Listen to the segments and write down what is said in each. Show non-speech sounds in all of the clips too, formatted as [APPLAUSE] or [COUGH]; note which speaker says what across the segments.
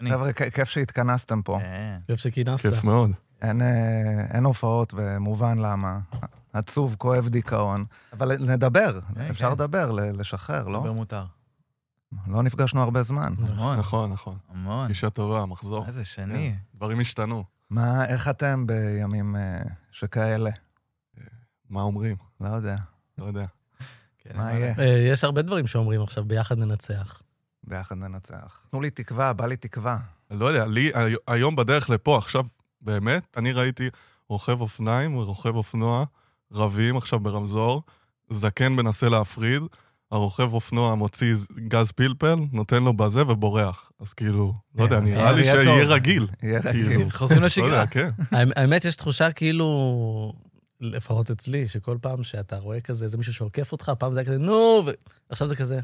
Speaker 1: אני-
Speaker 2: חבר'ה, כ- כיף שהתכנסתם פה.
Speaker 1: אה,
Speaker 3: כיף שכינסת.
Speaker 4: כיף מאוד.
Speaker 2: אין, אה, אין הופעות, ומובן למה. עצוב, כואב, דיכאון. אבל נדבר,
Speaker 1: כן,
Speaker 2: אפשר
Speaker 1: כן.
Speaker 2: לדבר, ל- לשחרר, לא?
Speaker 1: דבר מותר.
Speaker 2: לא נפגשנו הרבה זמן.
Speaker 1: המון,
Speaker 4: נכון, נכון.
Speaker 1: המון.
Speaker 4: אישה טובה, מחזור.
Speaker 1: איזה שני.
Speaker 4: דברים השתנו.
Speaker 2: מה, איך אתם בימים אה, שכאלה?
Speaker 4: מה אומרים?
Speaker 2: לא יודע,
Speaker 4: לא יודע.
Speaker 1: כן,
Speaker 2: מה יהיה?
Speaker 3: אה, יש הרבה דברים שאומרים עכשיו, ביחד ננצח. [LAUGHS]
Speaker 2: ביחד ננצח. תנו לי תקווה, בא לי תקווה.
Speaker 4: לא יודע, לי, הי- היום בדרך לפה, עכשיו, באמת, אני ראיתי רוכב אופניים ורוכב אופנוע רבים עכשיו ברמזור, זקן מנסה להפריד, הרוכב אופנוע מוציא ז- גז פלפל, נותן לו בזה ובורח. אז כאילו, לא יודע,
Speaker 2: אז
Speaker 4: נראה לי
Speaker 2: יהיה טוב.
Speaker 4: שיהיה רגיל.
Speaker 2: יהיה
Speaker 4: כאילו,
Speaker 2: רגיל.
Speaker 1: חוזרים
Speaker 4: לא
Speaker 1: לשגרה.
Speaker 4: יודע, כן.
Speaker 3: האמ- האמת, יש תחושה כאילו, לפחות אצלי, שכל פעם שאתה רואה כזה, איזה מישהו שעוקף אותך, פעם זה היה כזה, נו, ועכשיו זה כזה,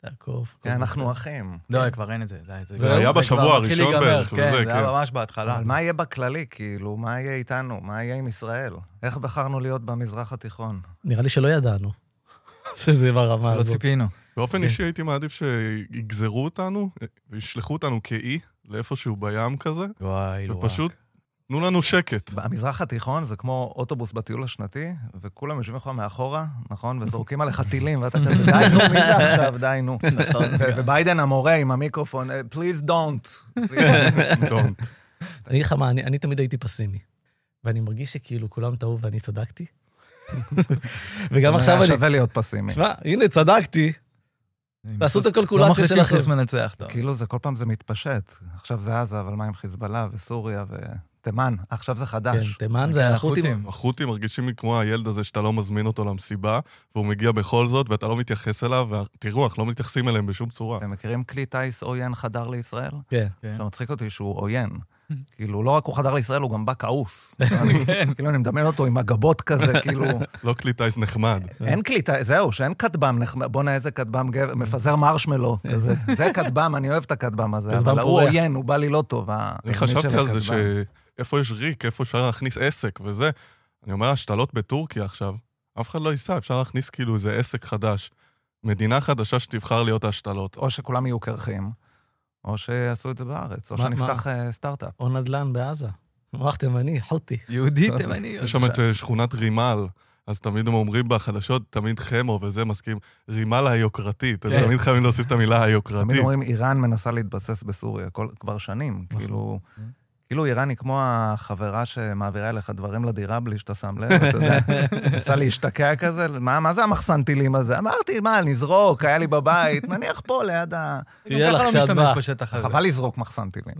Speaker 3: תעקוף. הכל
Speaker 2: כן, אנחנו כן.
Speaker 3: בסדר.
Speaker 2: אחים.
Speaker 1: לא, כבר אין את זה. די,
Speaker 3: זה היה
Speaker 1: כבר
Speaker 4: בשבוע
Speaker 1: מתחיל
Speaker 4: הראשון
Speaker 1: להיגמר,
Speaker 4: בערך, וזה,
Speaker 1: כן, זה היה
Speaker 4: כן.
Speaker 1: ממש בהתחלה.
Speaker 2: אבל מה יהיה בכללי, כאילו? מה יהיה איתנו? מה יהיה עם ישראל? איך בחרנו להיות במזרח התיכון?
Speaker 3: נראה לי שלא ידענו [LAUGHS] שזה ברמה
Speaker 1: לא
Speaker 3: הזאת.
Speaker 1: ציפינו.
Speaker 4: באופן אישי הייתי מעדיף שיגזרו אותנו וישלחו אותנו כאי לאיפשהו בים כזה,
Speaker 1: וואי, לא. [LAUGHS]
Speaker 4: ופשוט תנו לנו
Speaker 2: [LAUGHS]
Speaker 4: שקט.
Speaker 2: המזרח התיכון זה כמו אוטובוס בטיול השנתי, וכולם יושבים לך מאחורה,
Speaker 3: [LAUGHS]
Speaker 2: נכון? וזורקים עליך טילים, ואתה כזה, די, נו, מי זה עכשיו? די, נו.
Speaker 1: נכון.
Speaker 2: ו-
Speaker 3: כן.
Speaker 2: וביידן המורה עם המיקרופון, "אה, please
Speaker 3: [LAUGHS]
Speaker 2: don't.
Speaker 4: Don't.
Speaker 3: אני אגיד לך מה, אני אני תמיד הייתי פסימי. ואני מרגיש שכאילו כולם טעו ואני צדקתי. [LAUGHS] וגם עכשיו
Speaker 2: היה
Speaker 3: אני...
Speaker 2: שווה להיות פסימי.
Speaker 3: שמע, הנה, צדקתי, תעשו את
Speaker 1: לא
Speaker 3: הקולקולציה
Speaker 1: מחליפים
Speaker 3: שלכם.
Speaker 1: סוס מנצח,
Speaker 3: לא.
Speaker 1: טוב.
Speaker 2: כאילו זה כל פעם זה מתפשט. עכשיו זה עזה, אבל מה עם חיזבאללה וסוריה ותימן? עכשיו זה חדש.
Speaker 3: כן, תימן זה החות'ים.
Speaker 4: החות'ים מרגישים לי כמו הילד הזה שאתה לא מזמין אותו למסיבה, והוא מגיע בכל זאת, ואתה לא מתייחס אליו, ותראו, אנחנו לא מתייחסים אליהם בשום
Speaker 2: [LAUGHS]
Speaker 4: צורה.
Speaker 2: אתם מכירים כלי טיס עוין חדר לישראל?
Speaker 3: כן.
Speaker 1: כן.
Speaker 2: זה מצחיק אותי שהוא
Speaker 3: [LAUGHS]
Speaker 2: עוין. כאילו, לא רק הוא חדר לישראל, הוא גם בא כעוס.
Speaker 3: כן.
Speaker 2: אני- כאילו, אני מדמיין אותו עם הגבות כזה, כאילו...
Speaker 4: לא כלי טיס נחמד.
Speaker 2: כן. אין קליטה, זהו, שאין כטב"ם נחמד, בואנה איזה כטב"ם גבר, מפזר מרשמלו, כזה. זה כטב"ם, אני אוהב את הכטב"ם הזה,
Speaker 3: כטב"ם
Speaker 2: אבל הוא
Speaker 3: פורח.
Speaker 2: עוין, הוא בא לי לא טוב. התבנית
Speaker 4: אני
Speaker 2: של
Speaker 4: חשבתי על זה
Speaker 2: הכטב"ם.
Speaker 4: שאיפה יש ריק, איפה אפשר להכניס עסק וזה. אני אומר, השתלות בטורקיה עכשיו, אף אחד לא ייסע, אפשר להכניס כאילו איזה עסק חדש. מדינה חדשה שתבחר להיות השתלות.
Speaker 2: או שכולם יהיו קרחים, או שיעשו את זה בארץ, או
Speaker 3: מה-
Speaker 2: שנפתח אה, סטארט-אפ.
Speaker 3: או נדל"ן בעזה. מוח תימני, חותי.
Speaker 1: יהודי תימני.
Speaker 4: יש שם
Speaker 1: [LAUGHS]
Speaker 4: [LAUGHS] את אה, שכונת רימל, אז תמיד הם אומרים בחדשות, תמיד חמו וזה, מסכים, רימל היוקרתית.
Speaker 1: כן.
Speaker 4: הם תמיד חייבים להוסיף את המילה
Speaker 2: תמיד
Speaker 4: היוקרתית.
Speaker 2: אומרים, איראן מנסה להתבסס בסוריה כל- כבר שנים, כאילו... כאילו איראן היא כמו החברה שמעבירה אליך דברים לדירה בלי שאתה שם לב,
Speaker 1: [LAUGHS]
Speaker 2: אתה יודע, ניסה להשתקע כזה, מה, מה זה המחסן טילים הזה? אמרתי, מה, נזרוק, היה לי בבית, נניח פה ליד ה...
Speaker 3: יהיה לך כשאת באה.
Speaker 1: לא משתמש בשטח הזה.
Speaker 2: חבל לזרוק מחסן טילים.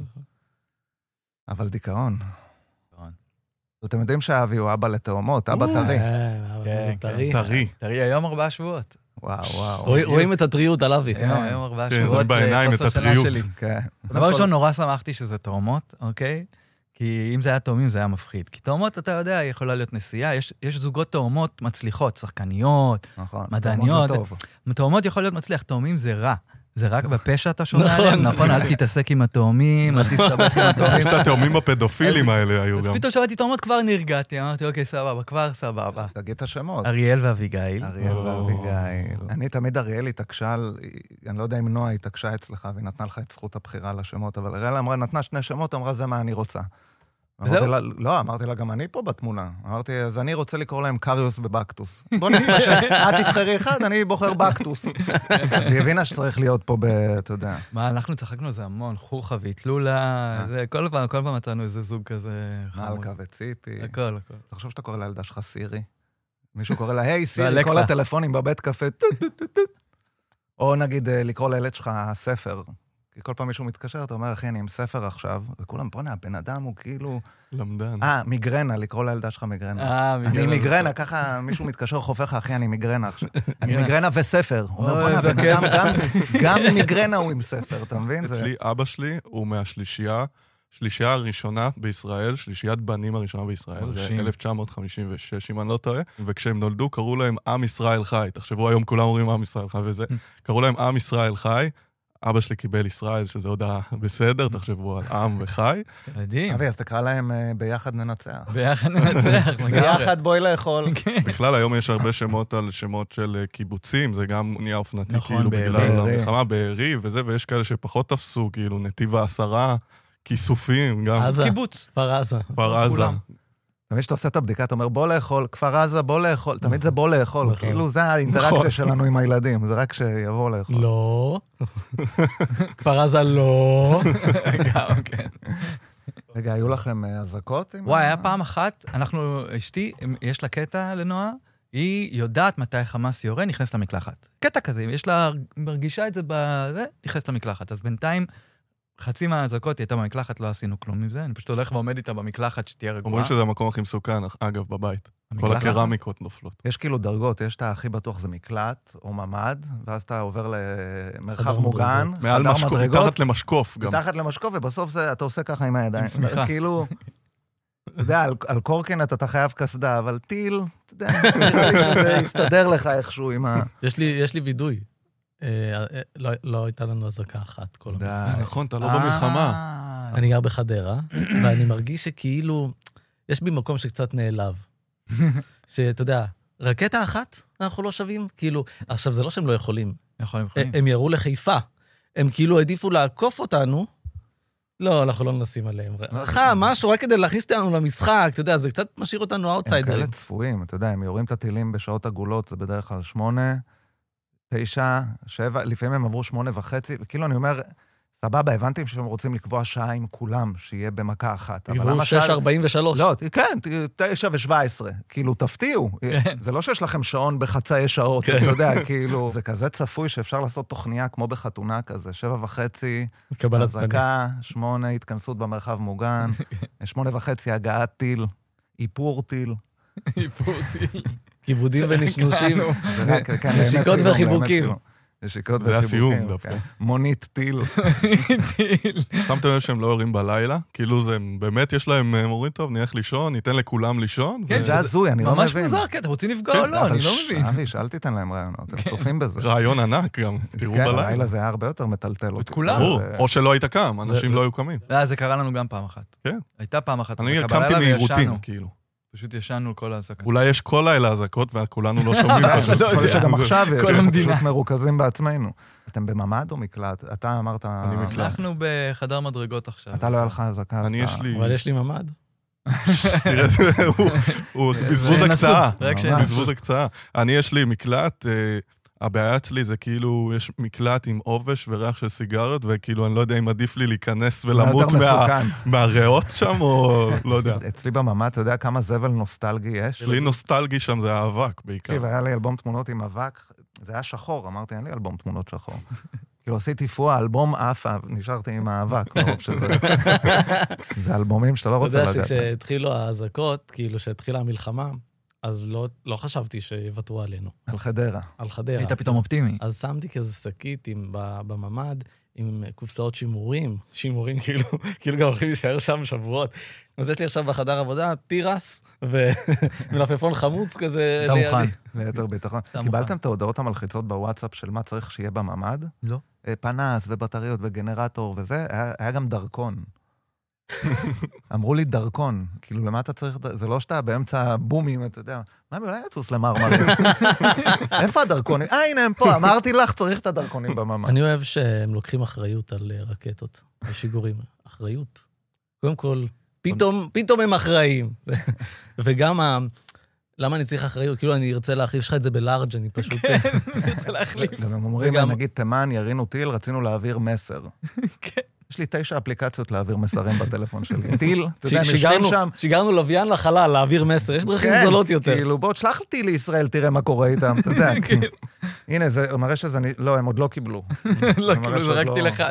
Speaker 2: אבל דיכאון.
Speaker 1: נכון.
Speaker 2: אתם יודעים שאבי הוא אבא לתאומות, אבא טרי.
Speaker 3: כן, אבא זה
Speaker 1: כן,
Speaker 3: טרי.
Speaker 4: טרי.
Speaker 1: תראי, היום ארבעה שבועות.
Speaker 2: וואו, וואו.
Speaker 3: רואים- רואים את הטריות על אבי.
Speaker 1: היום היום ארבעה
Speaker 4: כן,
Speaker 1: שבועות.
Speaker 4: רואים בעיניים
Speaker 1: לחוסר
Speaker 4: את
Speaker 1: שינה
Speaker 4: הטריות.
Speaker 1: שלי.
Speaker 2: כן.
Speaker 1: דבר ראשון, נורא שמחתי שזה תאומות, אוקיי? כי אם זה היה תאומים, זה היה מפחיד. כי תאומות, אתה יודע, יכולה להיות נסיעה. יש, יש זוגות תאומות מצליחות, שחקניות.
Speaker 2: נכון.
Speaker 1: מדעניות.
Speaker 2: תאומות זה טוב.
Speaker 1: תאומות יכול להיות מצליח, תאומים זה רע. זה רק בפה שאתה שומע
Speaker 3: נכון.
Speaker 1: עליהם, נכון? אל תתעסק עם התאומים, אל תסתבך עם
Speaker 4: [LAUGHS]
Speaker 1: התאומים.
Speaker 4: יש את התאומים הפדופילים האלה היו
Speaker 1: אז
Speaker 4: גם.
Speaker 1: פתאום שמעתי תאומות, כבר נרגעתי, אמרתי, אוקיי, סבבה, כבר סבבה.
Speaker 2: תגיד את השמות.
Speaker 1: אריאל ואביגיל.
Speaker 2: אוקיי. אריאל ואביגיל. אני תמיד, אריאל התעקשה, על- אני לא יודע אם נועה התעקשה אצלך והיא נתנה לך את זכות הבחירה לשמות, אבל אריאל אמרה, נתנה שני שמות, אמרה, זה מה אני רוצה.
Speaker 1: וזהו?
Speaker 2: אמרתי לה, לא, אמרתי לה, גם אני פה בתמונה. אמרתי, אז אני רוצה לקרוא להם קריוס ובקטוס. בוא נתפשט, את תבחרי אחד, אני בוחר בקטוס. אז היא הבינה שצריך להיות פה, ב- אתה יודע.
Speaker 1: מה, אנחנו צחקנו על זה המון, חוכא ואיטלולה, זה, כל פעם, כל פעם מצאנו איזה זוג כזה חמוד. אוקיי.
Speaker 2: מלכה וציפי.
Speaker 1: הכל, הכל.
Speaker 2: תחשוב שאתה קורא לילדה שלך סירי. מישהו קורא לה, היי סירי,
Speaker 1: ואלקסה.
Speaker 2: כל הטלפונים בבית קפה, טו, טו, טו, טו. או נגיד אה, לקרוא לילד שלך ספר. כי כל פעם מישהו מתקשר, אתה אומר, אחי, אני עם ספר עכשיו, וכולם, בואנה, הבן אדם הוא כאילו...
Speaker 4: למדן.
Speaker 2: אה, מיגרנה, לקרוא לילדה שלך מיגרנה.
Speaker 1: אה,
Speaker 2: אני מיגרנה, ככה מישהו מתקשר, חופר לך, אחי, אני מיגרנה עכשיו. אני מיגרנה וספר. הוא אומר,
Speaker 1: אוי,
Speaker 2: בואנה, הבן
Speaker 1: בכיף."
Speaker 2: אדם, גם- גם עם מיגרנה הוא עם ספר, אתה מבין? זה-
Speaker 4: אצלי, אבא שלי הוא מהשלישייה, שלישייה הראשונה בישראל, שלישיית בנים הראשונה בישראל, זה
Speaker 1: מרשים.
Speaker 4: 1956, אם אני לא טועה, וכשהם נולדו קראו להם עם ישראל חי. תחשבו, היום כולם אומרים עם ישראל חי וזה, קראו להם עם ישראל חי. אבא שלי קיבל ישראל, שזה עוד ה- בסדר, תחשבו על עם וחי.
Speaker 1: מדהים.
Speaker 2: אבי, אז תקרא להם אה, ביחד ננצח.
Speaker 1: ביחד ננצח, לגמרי.
Speaker 2: ביחד בואי לאכול.
Speaker 4: בכלל, היום יש הרבה שמות על שמות של אה, קיבוצים, זה גם נהיה אופנתי,
Speaker 1: נכון,
Speaker 4: כאילו,
Speaker 1: בארי.
Speaker 4: בגלל
Speaker 2: בארי.
Speaker 4: המלחמה, בארי וזה, ויש כאלה שפחות תפסו, כאילו, נתיב העשרה, כיסופים, גם
Speaker 3: עזה,
Speaker 1: [LAUGHS] קיבוץ.
Speaker 3: כפר עזה.
Speaker 4: כפר
Speaker 2: לא
Speaker 4: עזה.
Speaker 1: כולם.
Speaker 2: תמיד כשאתה עושה את הבדיקה, אתה אומר, בוא לאכול, כפר עזה, בוא לאכול. תמיד זה בוא לאכול,
Speaker 3: נכון.
Speaker 2: כאילו זה
Speaker 4: נכון.
Speaker 2: האינטראקציה שלנו עם הילדים, זה רק שיבואו לאכול.
Speaker 3: לא. כפר עזה לא.
Speaker 1: גם כן.
Speaker 2: רגע, היו לכם אה, אזעקות? עם
Speaker 1: וואי,
Speaker 2: ה-
Speaker 1: היה פעם אחת, אנחנו, אשתי, יש לה קטע לנועה, היא יודעת מתי חמאס יורה, נכנסת למקלחת. קטע כזה, יש לה, מרגישה את זה בזה, נכנסת למקלחת. אז בינתיים, חצי מהאזעקות היא הייתה במקלחת, לא עשינו כלום עם זה, אני פשוט הולך ועומד איתה במקלחת, שתהיה רגועה.
Speaker 4: אומרים שזה המקום הכי מסוכן, אך- אגב, בבית. כל
Speaker 1: המקלחת?
Speaker 4: הקרמיקות נופלות.
Speaker 2: יש כאילו דרגות, יש את הכי בטוח זה מקלט או ממ"ד, ואז אתה עובר למרחב
Speaker 3: חדר
Speaker 2: מוגן,
Speaker 4: מעל
Speaker 2: חדר
Speaker 4: משקוף,
Speaker 2: מדרגות,
Speaker 4: מתחת למשקוף גם.
Speaker 2: מתחת למשקוף, ובסוף זה, אתה עושה ככה עם הידיים.
Speaker 1: עם שמיכה.
Speaker 2: כאילו, אתה יודע, על, על קורקינט אתה חייב קסדה, אבל טיל, אתה יודע, נראה לי שזה יסתדר לך איכשהו עם ה...
Speaker 3: יש לי- יש לי וידוי. אה, אה, לא- לא הייתה לנו אזעקה אחת כל הזמן.
Speaker 2: די.
Speaker 4: אה, נכון, אתה לא במלחמה.
Speaker 1: אה,
Speaker 3: אני גר בחדרה, ואני מרגיש שכאילו, יש בי מקום שקצת נעלב. שאתה יודע, רקטה אחת, אנחנו לא שווים? כאילו, עכשיו, זה לא שהם לא יכולים,
Speaker 1: יכול, הם
Speaker 4: אה,
Speaker 1: יכולים.
Speaker 3: הם הם ירו לחיפה. הם כאילו העדיפו לעקוף אותנו. לא, אנחנו לא נשים עליהם. חם, משהו, רק כדי להכניס אותנו למשחק, אתה יודע, זה קצת משאיר אותנו
Speaker 2: לא. הם כן, כאלה
Speaker 3: אאוטסיידרים.
Speaker 2: צפויים, אתה יודע, הם יורים את הטילים בשעות עגולות, זה בדרך כלל שמונה, תשע, שבע, לפעמים הם עברו שמונה וחצי, וכאילו אני אומר, סבבה, הבנתי שהם רוצים לקבוע שעה עם כולם, שיהיה במכה אחת. אבל
Speaker 3: עברו
Speaker 2: למה שעה-
Speaker 3: 6.43.
Speaker 2: לא, כן, תשע ושבע עשרה. כאילו, תפתיעו. זה לא שיש לכם שעון בחצאי שעות, אתה יודע, כאילו... זה כזה צפוי שאפשר לעשות תוכניה כמו בחתונה כזה, שבע וחצי,
Speaker 3: קבלת פנים.
Speaker 2: אזעקה, שמונה, התכנסות במרחב מוגן, שמונה וחצי, הגעת טיל, איפור טיל.
Speaker 3: כיבודים ונשנושים.
Speaker 2: זה רק- כן, באמת
Speaker 3: נשיקות
Speaker 2: צילום, באמת
Speaker 3: וחיבוקים.
Speaker 2: צילום. נשיקות
Speaker 4: זה
Speaker 2: וחיבוקים.
Speaker 4: הסיום
Speaker 2: כן.
Speaker 4: דווקא.
Speaker 2: מונית טיל.
Speaker 4: שמתם לב שהם לא יורים בלילה? כאילו זה, הם- באמת יש להם, הם אומרים, טוב, נלך לישון, ניתן לכולם לישון.
Speaker 1: כן,
Speaker 2: זה הזוי, אני לא מבין.
Speaker 1: ממש
Speaker 3: אה,
Speaker 1: מוזר, כן, אתם רוצים לפגוע
Speaker 4: כן,
Speaker 1: או לא,
Speaker 2: אבל
Speaker 1: אני לא
Speaker 2: ש-
Speaker 1: מבין. כן.
Speaker 2: אבי, שאל תיתן להם רעיונות, הם צופים
Speaker 4: [LAUGHS]
Speaker 2: בזה.
Speaker 4: רעיון ענק גם, תראו
Speaker 2: כן,
Speaker 4: בלילה.
Speaker 2: הלילה זה היה הרבה יותר מטלטל אותי. אה,
Speaker 1: כולם.
Speaker 4: ברור,
Speaker 2: זה-
Speaker 4: או שלא היית קם, אנשים
Speaker 3: זה-
Speaker 4: לא היו קמים.
Speaker 1: אה, זה קרה לנו גם פעם אחת.
Speaker 4: כן.
Speaker 1: הייתה פעם אחת.
Speaker 4: אני
Speaker 1: אזעקה
Speaker 4: קמתי
Speaker 1: בלילה
Speaker 4: מעירותים,
Speaker 1: וישנו.
Speaker 4: כאילו.
Speaker 1: פשוט ישנו כל ההזעקה.
Speaker 4: אולי יש כל לילה אזעקות וכולנו לא שומעים.
Speaker 1: אף אחד
Speaker 4: פשוט.
Speaker 1: לא יודע.
Speaker 2: יכול
Speaker 4: [LAUGHS]
Speaker 2: להיות שגם עכשיו יש,
Speaker 1: כל
Speaker 2: אנחנו
Speaker 1: המדינה.
Speaker 2: פשוט מרוכזים בעצמנו. אתם בממ"ד או מקלט? אתה אמרת...
Speaker 4: אני מקלט.
Speaker 1: אנחנו בחדר מדרגות עכשיו.
Speaker 2: אתה לא היה לך אזעקה. אז
Speaker 4: אני
Speaker 2: אתה-
Speaker 4: יש לי...
Speaker 3: לא. אבל יש לי ממ"ד.
Speaker 4: [LAUGHS] תראה, זה- הוא- הוא בזבוז
Speaker 1: שינסו,
Speaker 4: הקצאה.
Speaker 1: רק
Speaker 2: ממש.
Speaker 1: שינסו.
Speaker 4: בזבוז הקצאה. אני, יש לי מקלט, אה, הבעיה אצלי זה כאילו, יש מקלט עם עובש וריח של סיגריות, וכאילו, אני לא יודע אם עדיף לי להיכנס
Speaker 2: מה
Speaker 4: ולמות
Speaker 2: יותר
Speaker 4: מה-
Speaker 2: מסוכן.
Speaker 4: מהריאות שם, או לא
Speaker 2: [LAUGHS]
Speaker 4: יודע.
Speaker 2: אצלי בממ"ד, אתה יודע כמה זבל נוסטלגי יש?
Speaker 4: לי נוסטלגי שם זה האבק בעיקר.
Speaker 3: כן.
Speaker 2: תקשיב, היה לי אלבום תמונות עם אבק, זה היה שחור, אמרתי, אין לי אלבום תמונות שחור.
Speaker 3: [LAUGHS]
Speaker 2: כאילו, עשיתי פועה, אלבום עף, נשארתי עם האבק, מרוב
Speaker 3: [LAUGHS]
Speaker 2: שזה... זה אלבומים שאתה לא
Speaker 3: אתה
Speaker 2: רוצה
Speaker 3: יודע
Speaker 2: לגעת. בהם.
Speaker 3: שכשהתחילו האזעקות, כאילו, כשהתחילה המלחמה, אז לא- לא חשבתי שיוותרו עלינו,
Speaker 2: על חדרה.
Speaker 3: על חדרה.
Speaker 1: היית פתאום אופטימי.
Speaker 3: אז שמתי כזה שקית עם, ב- בממ"ד, עם קופסאות שימורים, שימורים כאילו, [LAUGHS] כאילו גם הולכים להישאר שם שבועות. אז יש לי עכשיו בחדר עבודה תירס ו- [LAUGHS] ומלפפון חמוץ כזה.
Speaker 1: אתה
Speaker 3: לידי.
Speaker 1: מוכן.
Speaker 2: ליתר ביטחון.
Speaker 1: אתה מוכן.
Speaker 2: קיבלתם את ההודעות המלחיצות בוואטסאפ של מה צריך שיהיה בממ"ד?
Speaker 1: לא.
Speaker 2: אה, פנס ובטריות וגנרטור וזה, היה, היה
Speaker 1: [LAUGHS]
Speaker 2: גם דרכון. אמרו לי דרכון, כאילו, למה אתה צריך, ד- זה לא שאתה באמצע בומים, אתה יודע, מה, אולי נטוס
Speaker 1: [LAUGHS]
Speaker 2: למרמרס? איפה הדרכונים? אה, הנה הם פה, אמרתי לך, צריך את הדרכונים בממ"ד.
Speaker 3: אני אוהב שהם לוקחים אחריות על אה, רקטות ושיגורים. אחריות. קודם כל, פתאום, פתאום הם אחראים. [LAUGHS] וגם ה... למה אני צריך אחריות? כאילו, אני ארצה להחליף לך את זה בלארג', אני פשוט...
Speaker 1: כן, רוצה להחליף.
Speaker 2: גם הם אומרים,
Speaker 3: וגם-
Speaker 2: נגיד, תימן, ירינו טיל, רצינו להעביר מסר.
Speaker 1: [LAUGHS] כן.
Speaker 2: יש לי תשע אפליקציות להעביר מסרים בטלפון שלי. טיל, אתה יודע, הם
Speaker 3: ש-
Speaker 2: יושבים
Speaker 3: שיגרנו-
Speaker 2: שם.
Speaker 3: שיגרנו לוויין לחלל, להעביר מסר, יש דרכים זולות יותר. כן.
Speaker 2: כאילו, בוא, תשלח אותי לישראל, תראה מה קורה איתם, אתה
Speaker 3: [LAUGHS]
Speaker 2: יודע. כאילו. הנה, זה מראה שזה... נ- לא, הם עוד לא קיבלו.
Speaker 1: לא,
Speaker 2: ממש
Speaker 1: כאילו
Speaker 2: עוד
Speaker 1: זרקתי
Speaker 2: לא-
Speaker 1: לך.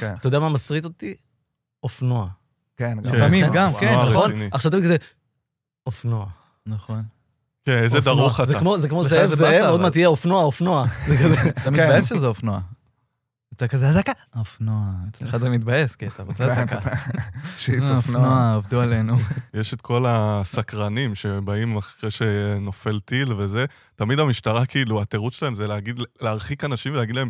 Speaker 2: כן,
Speaker 3: אתה יודע מה מסריט אותי? אופנוע.
Speaker 2: כן.
Speaker 1: לפעמים גם,
Speaker 4: אופנוע
Speaker 1: כן,
Speaker 2: אה,
Speaker 4: רציני.
Speaker 1: נכון?
Speaker 3: עכשיו אתה כזה, אופנוע.
Speaker 1: נכון.
Speaker 4: כן, איזה
Speaker 3: אופנוע.
Speaker 4: דרוך
Speaker 3: זה
Speaker 4: אתה.
Speaker 3: כמו, זה כמו
Speaker 1: לך
Speaker 3: זאב
Speaker 1: זה
Speaker 3: זאב,
Speaker 1: באסה,
Speaker 3: עוד
Speaker 1: אבל.
Speaker 3: מעט תהיה אופנוע, אופנוע. זה כזה,
Speaker 1: אתה [LAUGHS] מתבאס שזה אופנוע. אתה כזה אזעקה? אופנוע. אצלך זה מתבאס, כי אתה רוצה אזעקה.
Speaker 2: שיט
Speaker 1: אה,
Speaker 2: אופנוע.
Speaker 1: אופנוע, עבדו עלינו.
Speaker 4: יש את כל הסקרנים שבאים אחרי שנופל טיל וזה. תמיד המשטרה, כאילו, התירוץ שלהם זה להגיד, להרחיק אנשים ולהגיד להם,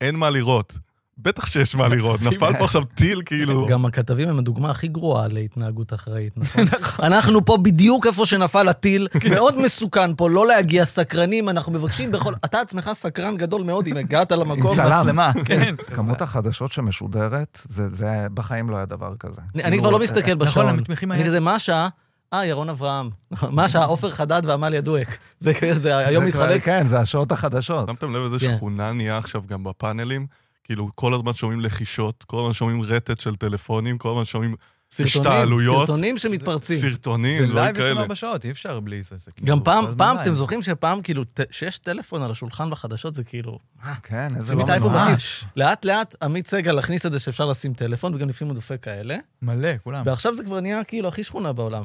Speaker 4: אין מה לראות. בטח שיש מה לראות, נפל פה עכשיו טיל כאילו.
Speaker 3: גם הכתבים הם הדוגמה הכי גרועה להתנהגות אחראית,
Speaker 1: [LAUGHS]
Speaker 3: נכון? אנחנו פה בדיוק איפה שנפל הטיל, [LAUGHS] מאוד מסוכן פה לא להגיע סקרנים, אנחנו מבקשים בכל... אתה עצמך סקרן גדול מאוד אם הגעת למקום.
Speaker 2: צלם.
Speaker 1: מצלמה, כן.
Speaker 2: כמות החדשות שמשודרת, זה, זה בחיים לא היה דבר כזה. כאילו,
Speaker 3: אני- אני כבר לא מסתכל בשעון.
Speaker 1: הם מתמיכים
Speaker 3: אני
Speaker 1: היה-
Speaker 3: כזה, מה השעה? אה, ירון אברהם. מה השעה? עופר חדד ועמליה דואק. זה כזה, זה היום
Speaker 2: זה כבר-
Speaker 3: מתחלק.
Speaker 2: כן, זה השעות החדשות.
Speaker 4: שמתם לב איזה
Speaker 3: כן.
Speaker 4: שכונה נהיה עכשיו גם בפאנלים? כאילו, כל הזמן שומעים לחישות, כל הזמן שומעים רטט של טלפונים, כל הזמן שומעים
Speaker 3: סרטונים,
Speaker 4: השתעלויות.
Speaker 3: סרטונים שמתפרצים.
Speaker 1: זה
Speaker 4: סרטונים, דברים
Speaker 1: לייב
Speaker 4: כאלה.
Speaker 1: 24 שעות, אי אפשר בלי זה. זה
Speaker 3: גם
Speaker 1: כאילו כל
Speaker 3: פעם, פעם,
Speaker 1: הזמן
Speaker 3: אתם
Speaker 1: לייב.
Speaker 3: זוכרים שפעם, כאילו, ת- שיש טלפון על השולחן בחדשות, זה כאילו...
Speaker 2: כן, איזה
Speaker 3: שימי
Speaker 2: לא
Speaker 3: את האייפון
Speaker 2: מנוהל.
Speaker 3: בכיס. לאט לאט עמית סגל הכניס את זה שאפשר לשים טלפון, וגם לפעמים הוא דופק כאלה,
Speaker 1: מלא, כולם.
Speaker 3: ועכשיו זה כבר נהיה כאילו הכי שכונה בעולם.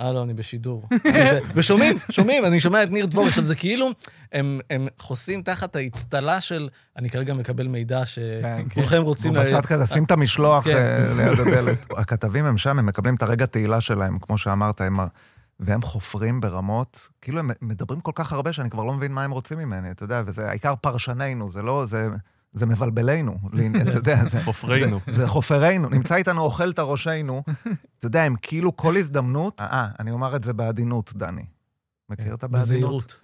Speaker 3: אה, לא, אני בשידור. [LAUGHS] אני זה- ושומעים, שומעים, אני שומע את ניר דבור. עכשיו, זה כאילו, הם הם חוסים תחת האצטלה של, אני כרגע מקבל מידע
Speaker 2: כן,
Speaker 3: שכולכם רוצים...
Speaker 2: הוא
Speaker 3: לה-
Speaker 2: בצד כזה, שים את המשלוח
Speaker 3: כן.
Speaker 2: אה, ליד
Speaker 3: [LAUGHS]
Speaker 2: הדלת. הכתבים הם שם, הם מקבלים את הרגע תהילה שלהם, כמו שאמרת, הם... ה- והם חופרים ברמות, כאילו הם מדברים כל כך הרבה שאני כבר לא מבין מה הם רוצים ממני, אתה יודע, וזה העיקר פרשנינו, זה לא, זה, זה
Speaker 3: [LAUGHS]
Speaker 2: מבלבלינו, לי- אתה יודע, זה,
Speaker 4: חופרינו.
Speaker 2: זה חופרינו, נמצא איתנו אוכל את הראשינו, אתה יודע, הם כאילו כל הזדמנות, אה, אני אומר את זה בעדינות, דני. מכיר את הבעדינות?
Speaker 3: בזהירות.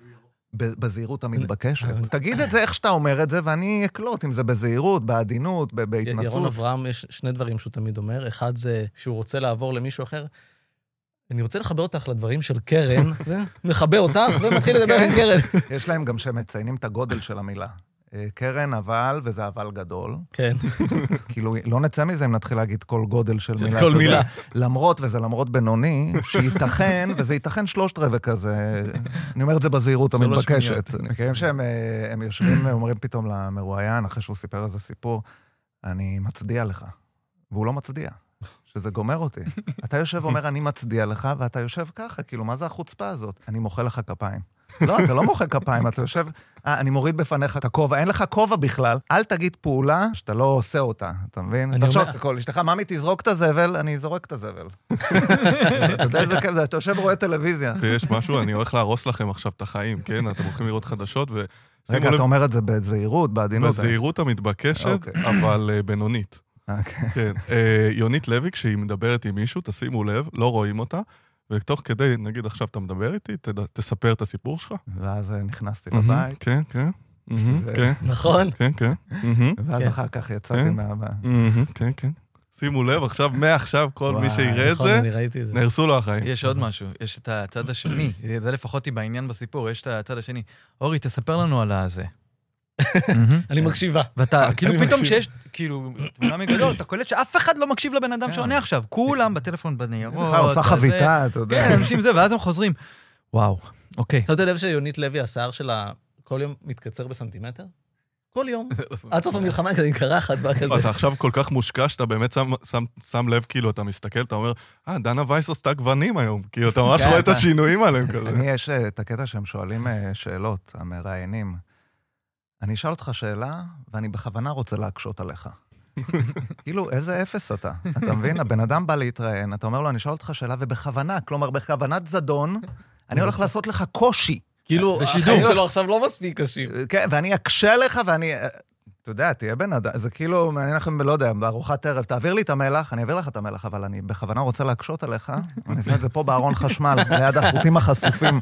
Speaker 2: ב- בזהירות המתבקשת.
Speaker 3: אבל-
Speaker 2: תגיד את זה איך שאתה אומר את זה, ואני אקלוט, אם זה בזהירות, בעדינות, ב-
Speaker 3: י- ירון
Speaker 2: בהתנסות.
Speaker 3: אברהם, יש שני דברים שהוא תמיד אומר. אחד זה שהוא רוצה לעבור למישהו אחר. אני רוצה לחבר אותך לדברים של [LAUGHS] קרן, מכבה אותך ומתחיל לדבר עם קרן.
Speaker 2: יש להם גם שמציינים את הגודל של המילה. אה, קרן אבל, וזה אבל גדול.
Speaker 3: כן.
Speaker 2: כאילו, לא נצא מזה אם נתחיל להגיד כל גודל של
Speaker 3: של
Speaker 2: מילה. אתה
Speaker 3: כל
Speaker 2: יודע.
Speaker 3: [LAUGHS] מילה.
Speaker 2: למרות, וזה למרות בינוני, שייתכן, וזה ייתכן שלושת רבעי כזה. אני אומר את זה בזהירות
Speaker 3: שלוש
Speaker 2: המתבקשת. מכירים שהם אה, הם יושבים ואומרים פתאום למרואיין, אחרי שהוא סיפר איזה סיפור, אני מצדיע לך. והוא לא מצדיע, שזה גומר אותי. אתה יושב ואומר, אני מצדיע לך, ואתה יושב ככה, כאילו, מה זה החוצפה הזאת? אני מוחא לך כפיים. לא, אתה לא מוחא כפיים, אתה יושב, אה, אני מוריד בפניך את הכובע, אין לך כובע בכלל, אל תגיד פעולה שאתה לא עושה אותה, אתה מבין?
Speaker 3: אני
Speaker 2: אתה עכשיו,
Speaker 3: אומר-
Speaker 2: הכל, אשתך, ממי תזרוק את הזבל, אני זורק את הזבל. [LAUGHS] אתה יודע איזה כיף זה, אתה יושב ורואה טלוויזיה.
Speaker 4: יש משהו, אני הולך להרוס לכם עכשיו את החיים, כן? אתם הולכים לראות חדשות, ושימו
Speaker 2: רגע,
Speaker 4: לב,
Speaker 2: אתה אומר את זה בזהירות, בעדינות.
Speaker 4: כן, בזהירות לא, המתבקשת,
Speaker 2: אוקיי.
Speaker 4: אבל אה, בינונית.
Speaker 2: אה, כן.
Speaker 4: כן. אה, יונית לוי, כשהיא מדברת עם מישהו, תשימו לב, לא רואים אותה, ותוך כדי, נגיד עכשיו אתה מדבר איתי, תד- תספר את הסיפור שלך.
Speaker 2: ואז אה, נכנסתי לבית,
Speaker 4: כן, כן. מהמם,
Speaker 2: ו-
Speaker 4: כן,
Speaker 3: נכון.
Speaker 4: כן, כן. מהמם,
Speaker 2: ואז
Speaker 3: כן.
Speaker 2: אחר כך יצאתי
Speaker 4: כן.
Speaker 2: מהבית.
Speaker 4: מהמם, כן, כן. שימו לב, עכשיו, מעכשיו, כל מי
Speaker 2: וואי,
Speaker 4: שיראה את
Speaker 3: נכון,
Speaker 4: זה,
Speaker 3: אני ראיתי את זה.
Speaker 4: נהרסו לו החיים.
Speaker 1: יש עוד משהו, יש את הצד השני, זה לפחות היא בעניין בסיפור, יש את הצד השני. אורי, תספר לנו על הזה. מהמם.
Speaker 3: אני מקשיבה.
Speaker 1: ואתה, כאילו
Speaker 4: אני
Speaker 1: פתאום
Speaker 4: מקשיב.
Speaker 1: שיש, כאילו, תמונה מגדול, אתה קולט שאף אחד לא מקשיב לבן
Speaker 3: כן.
Speaker 1: אדם שעונה עכשיו, כולם בטלפון בניירות.
Speaker 3: אה,
Speaker 2: בכלל, עושה
Speaker 1: זה-
Speaker 2: חביתה, אתה יודע.
Speaker 1: כן, אנשים זה, ואז הם חוזרים. וואו, אוקיי.
Speaker 3: שמת לב שיונית לוי, השיער שלה כל יום מתקצר בסנטימטר? כל יום.
Speaker 4: [LAUGHS]
Speaker 1: [LAUGHS]
Speaker 3: עד סוף המלחמה כזה היא קרחת בה כזה. [LAUGHS]
Speaker 4: אתה [LAUGHS] עכשיו כל כך מושקע, שאתה באמת שם- שם- שם לב, כאילו, אתה מסתכל, אתה אומר, אה, דנה וייס עשתה גוונים היום. כאילו, אתה ממש
Speaker 2: כן,
Speaker 4: רואה את
Speaker 2: אתה-
Speaker 4: השינויים עליהם כזה.
Speaker 2: אני, יש אה, את הקטע שהם שואלים אה, שאלות, המראיינים. אני אשאל אותך שאלה, ואני בכוונה רוצה להקשות עליך. [LAUGHS] כאילו, איזה אפס אתה. אתה מבין? הבן אדם בא להתראיין, אתה אומר לו, אני אשאל אותך שאלה, ובכוונה, כלומר, בכוונת זדון, אני הולך לעשות לך קושי.
Speaker 3: כאילו,
Speaker 1: בשידור.
Speaker 3: החיים שלו עכשיו לא מספיק קשים.
Speaker 2: אה, כן, ואני אקשה לך, ואני... אה, אתה יודע, תהיה בן אדם, זה כאילו, מעניין לכם, לא יודע, בארוחת ערב, תעביר לי את המלח, אני אעביר לך את המלח, אבל אני בכוונה רוצה להקשות עליך, אני אשים את זה פה בארון חשמל, ליד החוטים החשופים.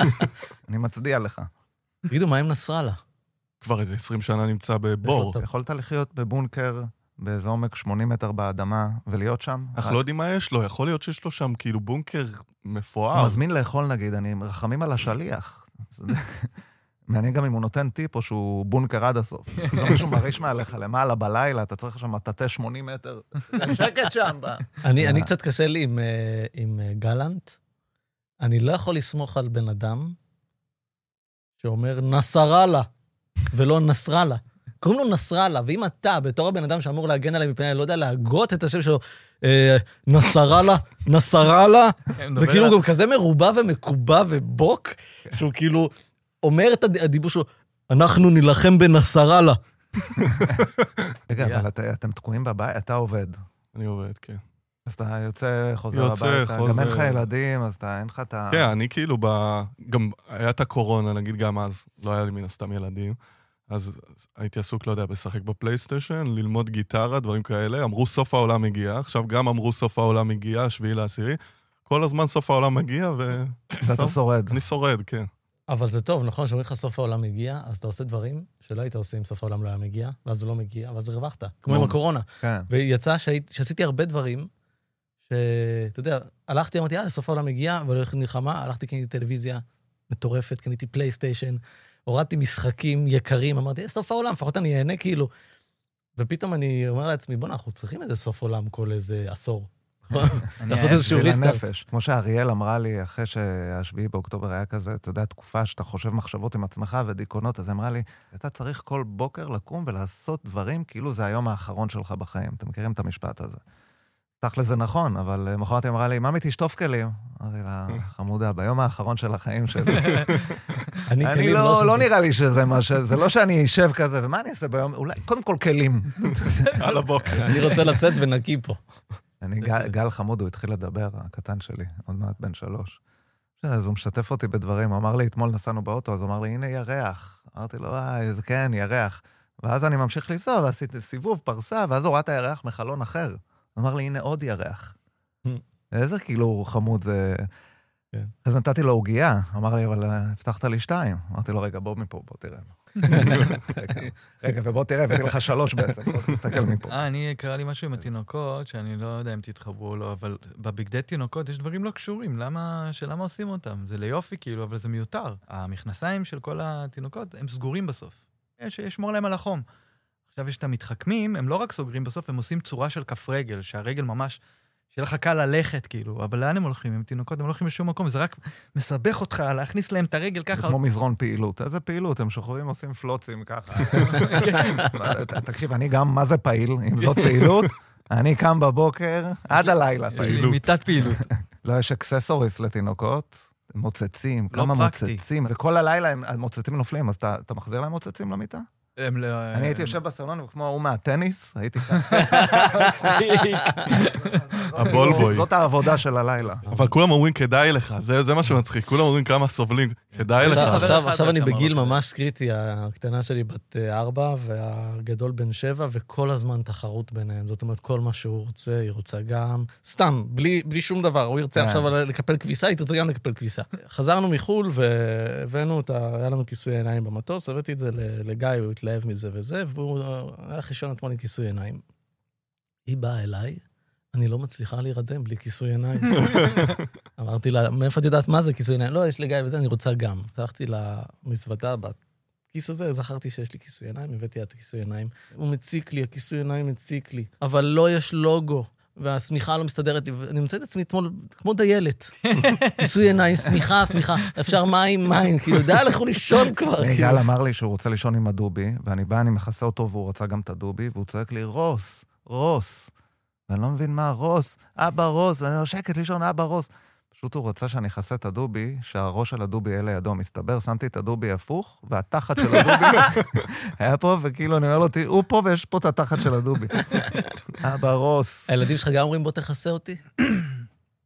Speaker 2: [LAUGHS] אני מצדיע לך.
Speaker 3: תגידו, מה עם נסראללה?
Speaker 4: כבר איזה 20 שנה נמצא בבור.
Speaker 3: טוב.
Speaker 2: יכולת לחיות בבונקר באיזה עומק 80 מטר באדמה ולהיות שם.
Speaker 4: אנחנו לא יודעים מה יש לו, יכול להיות שיש לו שם כאילו בונקר
Speaker 2: הוא
Speaker 4: מפואר.
Speaker 2: מזמין לאכול נגיד, אני עם רחמים על השליח. [LAUGHS] זה- מעניין גם אם הוא נותן טיפ או שהוא בונקר עד [LAUGHS] הסוף. לא מישהו מרעיש מעליך למעלה בלילה, אתה צריך שם מטאטא 80 מטר. שקט שם. ב-
Speaker 3: אני אני קצת קשה לי עם, אה, עם אה, גלנט. אני לא יכול לסמוך על בן אדם שאומר נסראללה, ולא נסראללה. קוראים לו נסראללה, ואם אתה, בתור הבן אדם שאמור להגן עליי מפני, לא יודע להגות את השם שלו, אה, נסראללה, נסראללה,
Speaker 1: כן,
Speaker 3: זה כאילו גם כזה מרובע ומקובע ובוק, שהוא כאילו אומר את הד- הדיבור שלו, אנחנו נילחם בנסראללה.
Speaker 2: רגע,
Speaker 1: יאללה.
Speaker 2: אבל אתה- אתם תקועים בבית, אתה עובד.
Speaker 4: אני עובד, כן.
Speaker 2: אז אתה יוצא, חוזר כן,
Speaker 4: יוצא,
Speaker 2: הביתה. גם
Speaker 4: חוזר.
Speaker 2: אין לך ילדים, אז אתה, אין לך את ה...
Speaker 4: כן, אני כאילו ב... גם היה את הקורונה, נגיד גם אז, לא היה לי מן הסתם ילדים, אז הייתי עסוק, לא יודע, בלשחק בפלייסטיישן, ללמוד גיטרה, דברים כאלה. אמרו סוף העולם הגיע, עכשיו גם אמרו סוף העולם הגיע, שביעי לעשירי. כל הזמן סוף העולם מגיע, ואני
Speaker 2: ואתה שורד.
Speaker 4: שורד, כן.
Speaker 3: אבל זה טוב, נכון? שאומרים לך סוף העולם הגיע, אז אתה עושה דברים שלא היית עושה אם סוף העולם לא היה מגיע, ואז הוא לא מגיע, ואז הרווחת, כמו עם
Speaker 2: נכון.
Speaker 3: הקורונה.
Speaker 2: כן.
Speaker 3: ויצא שהיית- שעשיתי הרבה דברים, שאתה יודע, הלכתי, אמרתי, יאללה, סוף העולם הגיע, אבל הולכת מלחמה, הלכתי, קניתי טלוויזיה מטורפת, קניתי פלייסטיישן, הורדתי משחקים יקרים, אמרתי, "אה, סוף העולם, לפחות אני אהנה כאילו. ופתאום אני אומר לעצמי, בוא'נה, אנחנו צריכים איזה סוף עולם כל איזה עשור. [LAUGHS]
Speaker 1: אני
Speaker 3: לעשות
Speaker 1: אהיה-
Speaker 3: איזשהו
Speaker 2: בשביל
Speaker 3: ריסטארט.
Speaker 2: הנפש. כמו שאריאל אמרה לי, אחרי שהשביעי באוקטובר היה כזה, אתה יודע, תקופה שאתה חושב מחשבות עם עצמך ודיכאונות, אז היא אמרה לי, אתה צריך כל בוקר לקום ולעשות דברים כאילו זה היום האחרון שלך בחיים. אתם מכירים את המשפט הזה. תכל'ס זה נכון, אבל אה, מחרת היא אמרה לי, ממי תשטוף כלים. אמרתי לה, חמודה, ביום האחרון של החיים
Speaker 3: [LAUGHS]
Speaker 2: שלי. אני
Speaker 3: כלים
Speaker 2: לא, לא
Speaker 3: שותה.
Speaker 2: נראה לי שזה מה ש... זה לא שאני אשב כזה, ומה אני אעשה ביום? אולי, קודם כל כלים.
Speaker 4: על
Speaker 3: [LAUGHS]
Speaker 4: הבוקר.
Speaker 3: אני רוצה לצאת ונקי פה.
Speaker 2: אני, גל, גל חמוד, הוא התחיל לדבר, הקטן שלי, עוד מעט בן שלוש. אז הוא משתף אותי בדברים, הוא אמר לי, אתמול נסענו באוטו, אז הוא אמר לי, הנה ירח. אמרתי לו, אה, איזה כן, ירח. ואז אני ממשיך לנסוע, ועשיתי סיבוב, פרסה, ואז הוא ראה את הירח מחלון אחר. הוא אמר לי, הנה עוד ירח.
Speaker 3: Hmm.
Speaker 2: איזה כאילו חמוד זה...
Speaker 3: כן.
Speaker 2: אז נתתי לו עוגייה, אמר לי, אבל אה, הבטחת לי שתיים. אמרתי לו, רגע, בוא מפה, בוא תראה. [LAUGHS] רגע, רגע, ובוא תראה, הבאתי לך שלוש בעצם, בוא תסתכל מפה.
Speaker 1: אה, אני, קרה לי משהו עם התינוקות, שאני לא יודע אם תתחברו או לא, אבל בבגדי תינוקות יש דברים לא קשורים, למה, שלמה עושים אותם? זה ליופי כאילו, אבל זה מיותר. המכנסיים של כל התינוקות, הם סגורים בסוף. יש, ישמור להם על החום. עכשיו יש את המתחכמים, הם לא רק סוגרים בסוף, הם עושים צורה של כף רגל, שהרגל ממש, שיהיה לך קל ללכת כאילו, אבל לאן הם הולכים? הם תינוקות, הם לא הולכים לשום מקום, זה רק מסבך אותך להכניס להם את הרגל
Speaker 2: זה
Speaker 1: ככה.
Speaker 2: כמו מזרון פעילות. איזה פעילות? הם שוכבים, עושים פלוצים ככה.
Speaker 1: [LAUGHS] כן.
Speaker 2: ת- תקשיב, אני גם, מה זה פעיל? אם זאת פעילות, אני קם בבוקר עד הלילה
Speaker 1: יש לי
Speaker 2: פעיל.
Speaker 1: אוקיי, מיטת פעילות.
Speaker 2: לא, יש אקססוריס לתינוקות, מוצצים,
Speaker 1: לא
Speaker 2: כמה
Speaker 1: פרקטי.
Speaker 2: מוצצים, וכל הלילה הם- המוצצים נופלים, אז אתה אתה מחזיר להם מוצצים למיטה?
Speaker 1: הם לא-
Speaker 2: אני הייתי יושב בסלון, וכמו ההוא מהטניס,
Speaker 1: [LAUGHS]
Speaker 2: הייתי כאן.
Speaker 4: הבולבוי.
Speaker 2: זאת העבודה של הלילה.
Speaker 4: אבל כולם אומרים, כדאי לך, זה זה מה שמצחיק. כולם אומרים כמה סובלים, כדאי לך.
Speaker 3: עכשיו-
Speaker 1: חבר
Speaker 3: עכשיו,
Speaker 1: אחד
Speaker 3: עכשיו אני
Speaker 1: בעצם
Speaker 3: בגיל
Speaker 1: אמר את זה.
Speaker 3: ממש קריטי, הקטנה שלי בת אה, ארבע והגדול בן שבע, וכל הזמן תחרות ביניהם. זאת אומרת, כל מה שהוא רוצה, היא רוצה גם. סתם, בלי, בלי שום דבר. הוא ירצה
Speaker 2: כן.
Speaker 3: עכשיו לקפל כביסה, היא תרצה גם לקפל כביסה. חזרנו מחו"ל והבאנו את ה... היה לנו כיסוי עיניים במטוס, הבאתי את זה ל- לגיא, הוא התלהב מזה וזה, והוא אה, הלך לישון אתמול עם כיסוי עיניים. היא באה אליי, אני לא מצליחה להירדם בלי כיסוי עיניים. אמרתי לה, מאיפה את יודעת מה זה כיסוי עיניים? לא, יש לי גיא וזה, אני רוצה גם. אז הלכתי למזוודה בכיס הזה, זכרתי שיש לי כיסוי עיניים, הבאתי לה את הכיסוי עיניים. הוא מציק לי, הכיסוי עיניים מציק לי, אבל לא יש לוגו, והשמיכה לא מסתדרת לי, ואני מוצא את עצמי אתמול כמו דיילת. כיסוי עיניים, שמיכה, שמיכה, אפשר מים, מים, כאילו, די, לכו לישון כבר. כאילו.
Speaker 2: יגאל אמר לי שהוא רוצה לישון עם הדובי, ואני בא, אני מכסה אותו, והוא רצה גם את הדובי, והוא צועק לי, רוס, רוס. ואני לא מבין מה רוס, אבא רוס, ואני אומר, שקט, לישון, אבא רוס. פשוט הוא רצה שאני אכסה את הדובי, שהראש של הדובי יהיה לידו. מסתבר, שמתי את הדובי הפוך, והתחת של
Speaker 3: [LAUGHS]
Speaker 2: הדובי היה פה, וכאילו, אני אומר לו, "תראו, הוא פה ויש פה את התחת של הדובי.
Speaker 3: [LAUGHS]
Speaker 2: אבא רוס.
Speaker 3: הילדים שלך גם אומרים, בוא תכסה אותי?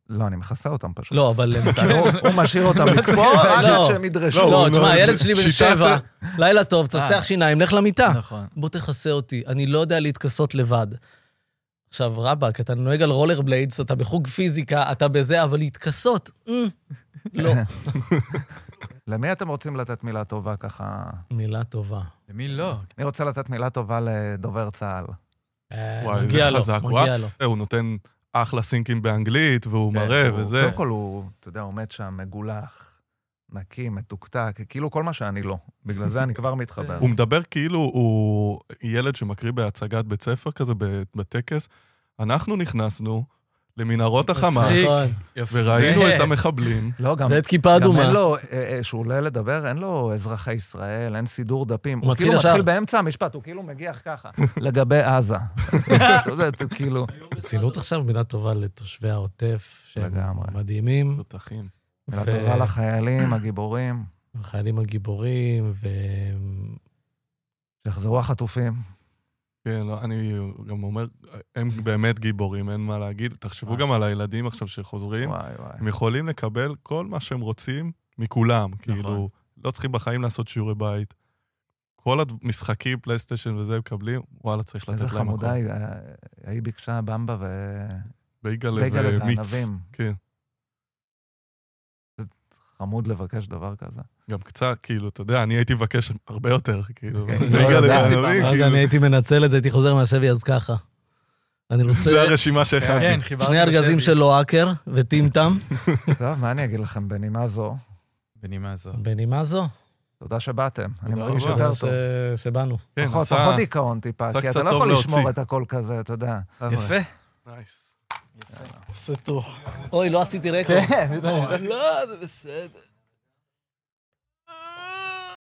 Speaker 2: לא, אני מכסה אותם פשוט.
Speaker 3: לא, אבל... [LAUGHS] הם-
Speaker 2: כאילו, הוא משאיר אותם לקפוא, רק עד
Speaker 3: [LAUGHS] לא.
Speaker 2: שהם ידרשו.
Speaker 3: לא, תשמע, הילד שלי בן
Speaker 4: שיטת-
Speaker 3: שבע, לילה טוב,
Speaker 1: אה.
Speaker 3: תצח שיניים, לך למיטה.
Speaker 1: נכון.
Speaker 3: בוא תכסה אותי, אני לא יודע להתכסות לבד. עכשיו, רבאק, אתה נוהג על רולר בליידס, אתה בחוג פיזיקה, אתה בזה, אבל להתכסות, אה, לא.
Speaker 2: למי אתם רוצים לתת מילה טובה ככה?
Speaker 3: מילה טובה.
Speaker 1: למי לא?
Speaker 2: אני רוצה לתת מילה טובה לדובר צה"ל.
Speaker 3: אה,
Speaker 4: וואי, זה
Speaker 3: מגיע לו,
Speaker 4: חזק,
Speaker 3: מגיע
Speaker 4: וואי.
Speaker 3: לו.
Speaker 4: הוא נותן אחלה סינקים באנגלית, והוא
Speaker 1: כן,
Speaker 4: מראה
Speaker 1: הוא-
Speaker 4: וזה.
Speaker 2: קודם כל הוא, אתה יודע, עומד שם מגולח, נקי, מתוקתק, כאילו כל מה שאני לא. בגלל זה אני כבר מתחבר.
Speaker 4: הוא מדבר כאילו הוא ילד שמקריא בהצגת בית ספר כזה ב- בטקס. אנחנו נכנסנו למנהרות החמאס,
Speaker 1: מצחיק.
Speaker 3: נכון.
Speaker 1: יפה.
Speaker 4: וראינו את המחבלים.
Speaker 2: לא, גם...
Speaker 3: ואת כיפה
Speaker 2: גם אין
Speaker 3: אדומה.
Speaker 2: לו, אה, אה, שהוא עולה לדבר, אין לו אזרחי ישראל, אין סידור דפים.
Speaker 3: הוא
Speaker 2: הוא
Speaker 3: מתחיל
Speaker 2: כאילו
Speaker 3: ישר.
Speaker 2: מתחיל באמצע המשפט, הוא כאילו מגיח ככה. לגבי עזה. אתה יודע, אתה כאילו...
Speaker 3: רצינות עכשיו, מילה טובה לתושבי העוטף, שהם
Speaker 2: לגמרי.
Speaker 3: מדהימים.
Speaker 4: תותחים.
Speaker 2: מילה
Speaker 3: ו-
Speaker 2: טובה לחיילים, הגיבורים,
Speaker 3: החיילים הגיבורים, והם
Speaker 2: שיחזרו החטופים.
Speaker 4: כן, לא, אני גם אומר, הם באמת גיבורים, אין מה להגיד. תחשבו גם על הילדים עכשיו שחוזרים,
Speaker 2: וואי וואי.
Speaker 4: הם יכולים לקבל
Speaker 2: נכון.
Speaker 4: כל מה שהם רוצים מכולם. כאילו, לא צריכים בחיים לעשות שיעורי בית. כל המשחקים, פלייסטיישן וזה, מקבלים, וואלה, צריך לתת להם
Speaker 2: איזה
Speaker 4: מקום.
Speaker 2: חמודה היא, אה, היא ביקשה במבה ו...
Speaker 4: בייגלה
Speaker 2: בייגלה
Speaker 4: ומיץ.
Speaker 2: וענבים.
Speaker 4: כן.
Speaker 2: חמוד לבקש דבר כזה.
Speaker 4: גם קצת, כאילו, אתה יודע, אני הייתי מבקש הרבה יותר, כאילו.
Speaker 2: כן,
Speaker 4: בייגלה
Speaker 2: לא יודע.
Speaker 4: וענבים,
Speaker 3: אז אני
Speaker 4: כאילו.
Speaker 3: הייתי מנצל את זה, הייתי חוזר מהשבי אז ככה. אני
Speaker 4: זה
Speaker 3: רוצה
Speaker 4: הרשימה שהכנתי.
Speaker 1: כן, חיברתי
Speaker 3: שני ארגזים של לואקר וטימטם.
Speaker 2: טוב, מה אני אגיד לכם בנימה זו?
Speaker 1: בנימה זו.
Speaker 3: בנימה זו,
Speaker 2: תודה שבאתם, אני
Speaker 4: תודה
Speaker 2: מרגיש
Speaker 4: רבה.
Speaker 2: יותר
Speaker 3: ש-
Speaker 2: טוב.
Speaker 3: שבאנו.
Speaker 4: כן,
Speaker 2: פחות,
Speaker 4: עשה-
Speaker 2: פחות דיכאון טיפה,
Speaker 4: עשה
Speaker 2: כי
Speaker 4: קצת
Speaker 2: אתה לא
Speaker 4: טוב
Speaker 2: יכול
Speaker 4: להוציא.
Speaker 2: לשמור את הכל כזה, אתה יודע. חבר'ה,
Speaker 1: יפה.
Speaker 4: נייס.
Speaker 3: סטו. אוי, לא עשיתי רקורד. לא, זה בסדר.